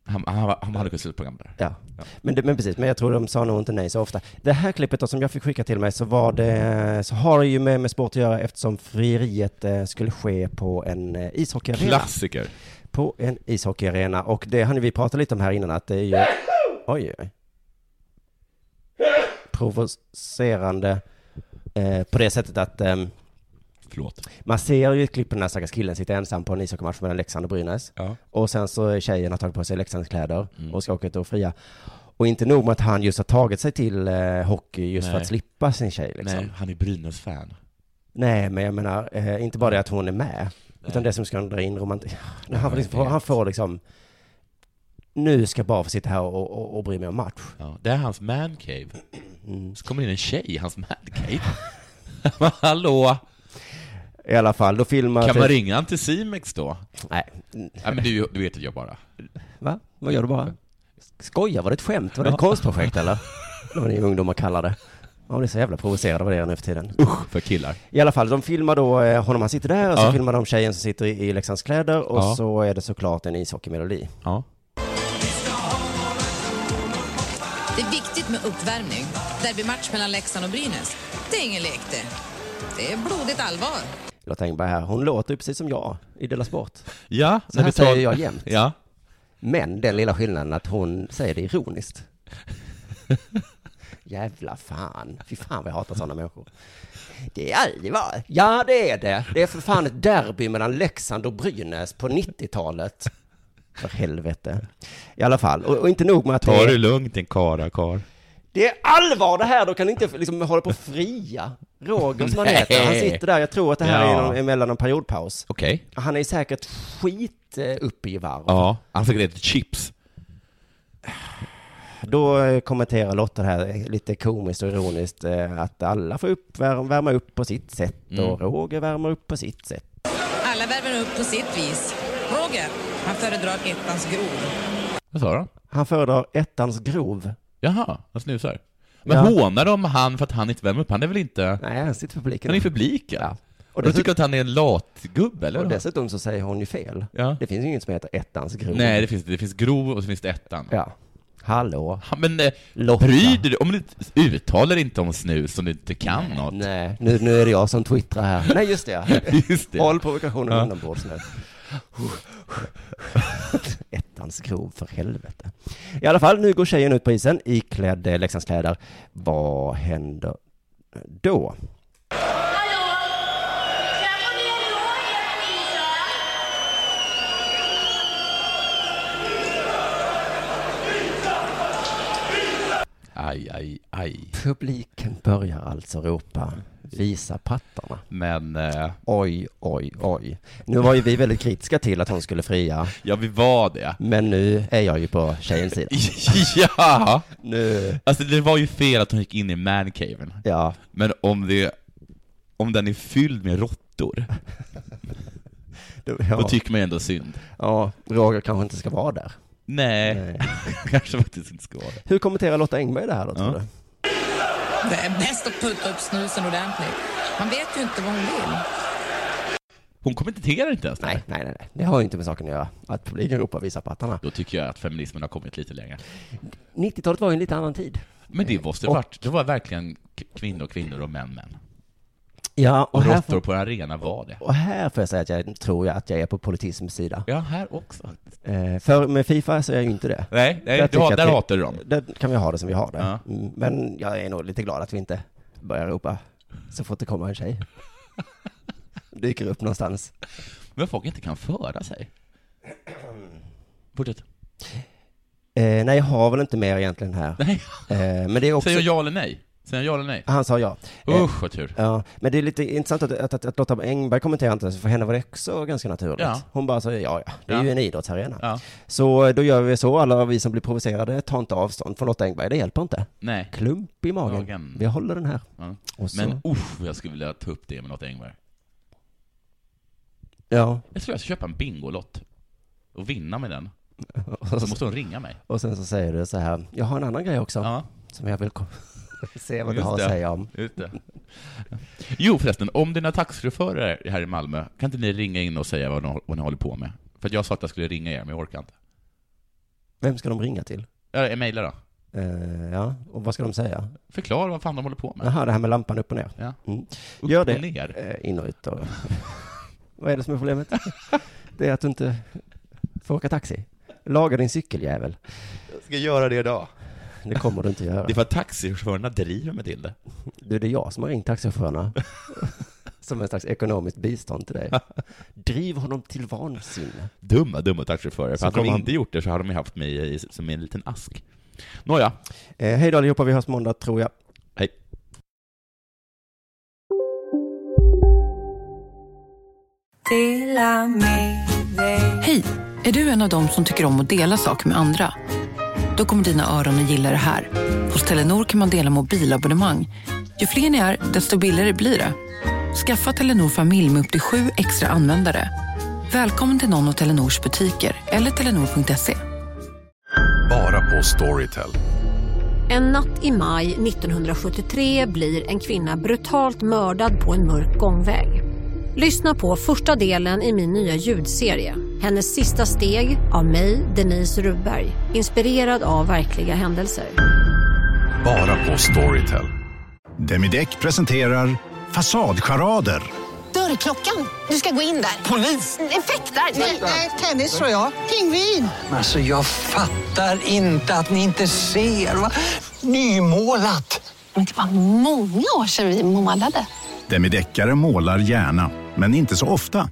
Speaker 1: Han, han, han hade kunnat sluta programmet där.
Speaker 2: Ja. Men, det, men precis, men jag tror de sa nog inte nej så ofta. Det här klippet då, som jag fick skicka till mig så var det, så har det ju med, med sport att göra eftersom frieriet eh, skulle ske på en eh, ishockeyarena.
Speaker 1: Klassiker.
Speaker 2: På en ishockeyarena och det hann vi prata lite om här innan att det är ju... Oj, oj. Provocerande eh, på det sättet att ehm,
Speaker 1: Förlåt.
Speaker 2: man ser ju ett klipp på den här stackars killen sitta ensam på en ishockeymatch mellan Leksand och Brynäs.
Speaker 1: Ja.
Speaker 2: Och sen så är tjejen har tagit på sig Leksands kläder
Speaker 1: Mm.
Speaker 2: och ska åka ut och fria. Och inte nog med att han just har tagit sig till eh, hockey just för
Speaker 1: Nej.
Speaker 2: att slippa sin tjej liksom.
Speaker 1: Nej,
Speaker 2: Nej,
Speaker 1: han är Brynäs-fan.
Speaker 2: men jag menar, eh, inte bara det att hon är med, utan det som ska dra in romantik. Han, får
Speaker 1: jag
Speaker 2: liksom,
Speaker 1: vet.
Speaker 2: han får liksom, nu ska jag bara få sitta här och, och, och bry mig om match.
Speaker 1: Ja, det är hans mancave. Så kommer in en tjej i hans mancave. Men Hallå!
Speaker 2: I alla fall, då filmar...
Speaker 1: Kan man ringa han till Simex då?
Speaker 2: Nej,
Speaker 1: Nej, men du, du vet att jag bara...
Speaker 2: va? Vad gör du bara? Skojar, var det ett skämt? Var det ett konstprojekt eller? Vad ni ungdomar kallar det. Ja, ni är så jävla provocerade av det nu för tiden.
Speaker 1: Usch, för killar.
Speaker 2: I alla fall, de filmar då eh, honom, han sitter där, och så
Speaker 1: Ja.
Speaker 2: filmar de tjejen som sitter i, i Leksands kläder, och
Speaker 1: Ja.
Speaker 2: så är det såklart en ishockeymelodi.
Speaker 1: Ja.
Speaker 10: uppvärmning. Derbymatch mellan Leksand och Brynäs. Det är ingen lek det. Det är blodigt allvar.
Speaker 2: Lotta Engberg här, hon låter ju precis som jag i Della Sport.
Speaker 1: Ja,
Speaker 2: Så
Speaker 1: när
Speaker 2: här
Speaker 1: vi tar-
Speaker 2: säger jag jämt.
Speaker 1: Ja.
Speaker 2: Men den lilla skillnaden att hon säger det ironiskt. Jävla fan, fy fan vad jag hatar sådana människor. Det är allvar. Ja, det är det. Det är för fan ett derby mellan Leksand och Brynäs på 90-talet. För helvete. I alla fall, och, och inte nog med att
Speaker 1: Ta
Speaker 2: det
Speaker 1: det
Speaker 2: är,
Speaker 1: lugnt din karakar.
Speaker 2: det är allvar det här, då kan ni inte liksom hålla på och fria. Roger som han
Speaker 1: Nej.
Speaker 2: heter, han sitter där, jag tror att det här
Speaker 1: Ja.
Speaker 2: är någon, emellan en periodpaus.
Speaker 1: Okej.
Speaker 2: Han är säkert skit eh, uppe i varv.
Speaker 1: Ja, han fick ett chips.
Speaker 2: Då eh, kommenterar Lotta det här eh, lite komiskt och ironiskt eh, att alla får upp, vär- värma upp på sitt sätt
Speaker 10: Mm.
Speaker 2: och Roger värmer upp på sitt sätt.
Speaker 10: Alla värmer upp på sitt vis. Roger, han föredrar ettans grov.
Speaker 1: Vad sa du?
Speaker 2: Han föredrar ettans grov.
Speaker 1: Jaha, han snusar. Men
Speaker 2: Ja.
Speaker 1: hånar de han för att han inte värmer upp? Han är väl inte...
Speaker 2: Nej, han sitter i publiken.
Speaker 1: Han är i publiken? Och
Speaker 2: dessutom-
Speaker 1: de tycker att han är en latgubbe, eller?
Speaker 2: Och
Speaker 1: vad?
Speaker 2: dessutom så säger hon ju fel. Det finns ju inget som heter ettans grov.
Speaker 1: Nej, det finns, det finns grov och så finns det ettan.
Speaker 2: Ja. Hallå.
Speaker 1: Ja, men eh, bryr du dig? Om du inte- uttalar inte om snus om du inte kan något.
Speaker 2: Nej, nu, nu är det jag som twittrar här. Nej, just det.
Speaker 1: Just det.
Speaker 2: Håll provokationen
Speaker 1: Ja.
Speaker 2: inombords nu. Ettans grov, för helvete. I alla fall, nu går tjejen ut på isen iklädd eh, Leksandskläder. Vad händer då?
Speaker 1: Aj, aj, aj.
Speaker 2: Publiken börjar alltså ropa visa pattarna.
Speaker 1: Men... Eh,
Speaker 2: Oj, oj, oj. Nu var ju vi väldigt kritiska till att hon skulle fria.
Speaker 1: Ja, vi var det.
Speaker 2: Men nu är jag ju på tjejens sida.
Speaker 1: ja!
Speaker 2: Nu.
Speaker 1: Alltså det var ju fel att hon gick in i mancaven.
Speaker 2: Ja.
Speaker 1: Men om det... Om den är fylld med råttor,
Speaker 2: Då,
Speaker 1: då tycker man ju ändå synd.
Speaker 2: Ja, Roger kanske inte ska vara där.
Speaker 1: Nej, kanske faktiskt inte ska vara det.
Speaker 2: Hur kommenterar Lotta Engberg det här då, tror du?
Speaker 10: Det är bäst att putta upp snusen ordentligt. Man vet ju inte vad hon vill.
Speaker 1: Hon kommenterar inte ens
Speaker 2: nej, nej, nej, nej. Det har ju inte med saken att göra, att publiken ropar visa pattarna.
Speaker 1: Då tycker jag att feminismen har kommit lite längre.
Speaker 2: 90-talet var ju en lite annan tid.
Speaker 1: Men
Speaker 2: Eh,
Speaker 1: det måste ha varit, det var verkligen k- kvinnor, kvinnor och män, män.
Speaker 2: Ja, och,
Speaker 1: Och
Speaker 2: här,
Speaker 1: råttor
Speaker 2: får,
Speaker 1: på en arena var det.
Speaker 2: och här får jag säga att jag tror jag att jag är på politismens sida.
Speaker 1: Ja, här också.
Speaker 2: Eh, för med Fifa så är jag ju inte det.
Speaker 1: Nej, nej, du
Speaker 2: tycker
Speaker 1: har-
Speaker 2: jag
Speaker 1: där
Speaker 2: att vi-
Speaker 1: hatar du dem.
Speaker 2: Där kan vi ha det som vi har det.
Speaker 1: Ja.
Speaker 2: Mm, Men jag är nog lite glad att vi inte börjar ropa så fort det kommer en tjej. Dyker upp någonstans.
Speaker 1: Men folk inte kan föra sig. Fortsätt.
Speaker 2: Eh, nej, jag har väl inte mer egentligen här.
Speaker 1: Nej.
Speaker 2: Eh, men det är också... Eh.
Speaker 1: Säger jag ja eller nej? Säger jag ja eller nej?
Speaker 2: Han sa ja.
Speaker 1: Usch, vad tur.
Speaker 2: Ja, men det är lite intressant att, att, att, att Lotta Engberg kommenterar inte, för henne var det också ganska naturligt.
Speaker 1: Ja.
Speaker 2: Hon bara sa ja, ja, det är
Speaker 1: Ja.
Speaker 2: ju en idrottsarena.
Speaker 1: Ja.
Speaker 2: Så eh, då gör vi så, alla vi som blir provocerade, tar inte avstånd från Lotta Engberg, det hjälper inte.
Speaker 1: Nej.
Speaker 2: Klump i magen.
Speaker 1: Magen.
Speaker 2: Vi håller den här.
Speaker 1: Ja.
Speaker 2: Och så-
Speaker 1: Men usch, jag skulle vilja ta upp det med något Engberg.
Speaker 2: Ja,
Speaker 1: Jag tror jag ska köpa en Bingolott och vinna med den.
Speaker 2: så-
Speaker 1: Så måste hon ringa mig.
Speaker 2: och sen så säger du så här, jag har en annan grej också,
Speaker 1: Ja.
Speaker 2: som jag vill kom- se vad du
Speaker 1: Just
Speaker 2: har att
Speaker 1: det.
Speaker 2: säga om.
Speaker 1: Just det. Jo förresten, om dina taxichaufförer här i Malmö, kan inte ni ringa in och säga vad ni, vad ni håller på med? För att jag sa att jag skulle ringa er, men jag orkar inte.
Speaker 2: Vem ska de ringa till?
Speaker 1: Ja, mejla då.
Speaker 2: Eh, ja, och vad ska de säga?
Speaker 1: Förklara vad fan de håller på med.
Speaker 2: Jaha, det här med lampan upp och ner.
Speaker 1: Ja.
Speaker 2: Mm.
Speaker 1: Upp
Speaker 2: Gör
Speaker 1: och
Speaker 2: det.
Speaker 1: ner.
Speaker 2: Eh, In och ut och... Vad är det som är problemet? det är att du inte får åka taxi. Laga din cykeljävel.
Speaker 1: Jag ska göra det idag.
Speaker 2: Det kommer du inte göra.
Speaker 1: Det är för att taxichaufförerna driver mig till det.
Speaker 2: Du, det är jag som har ringt taxichaufförerna. som en slags ekonomiskt bistånd till dig. Driv honom till vansinne.
Speaker 1: Dumma, dumma taxichaufförer.
Speaker 2: Så
Speaker 1: För hade de
Speaker 2: kommer han-
Speaker 1: inte gjort det så hade de ju haft mig i, som en liten ask. Nåja.
Speaker 2: Eh, hej då allihopa, vi hörs måndag tror jag.
Speaker 1: Hej.
Speaker 11: Hej! Är du en av dem som tycker om att dela saker med andra? Då kommer dina öron att gilla det här. Hos Telenor kan man dela mobilabonnemang. Ju fler ni är, desto billigare blir det. Skaffa Telenor familj med upp till sju extra användare. Välkommen till någon av Telenors butiker eller telenor.se.
Speaker 12: Bara på Storytel.
Speaker 13: En natt i maj 1973 blir en kvinna brutalt mördad på en mörk gångväg. Lyssna på första delen i min nya ljudserie. Hennes sista steg av mig, Denise Rubberg. Inspirerad av verkliga händelser.
Speaker 14: Bara på Storytel.
Speaker 5: Demideck presenterar Fasadcharader.
Speaker 4: Dörrklockan. Du ska gå in där. Polis? Effektar? Nej, tennis tror jag. Pingvin.
Speaker 6: Alltså jag fattar inte att ni inte ser. Va? Nymålat.
Speaker 4: Men det var många år sedan vi målade.
Speaker 5: Demideckare målar gärna, men inte så ofta.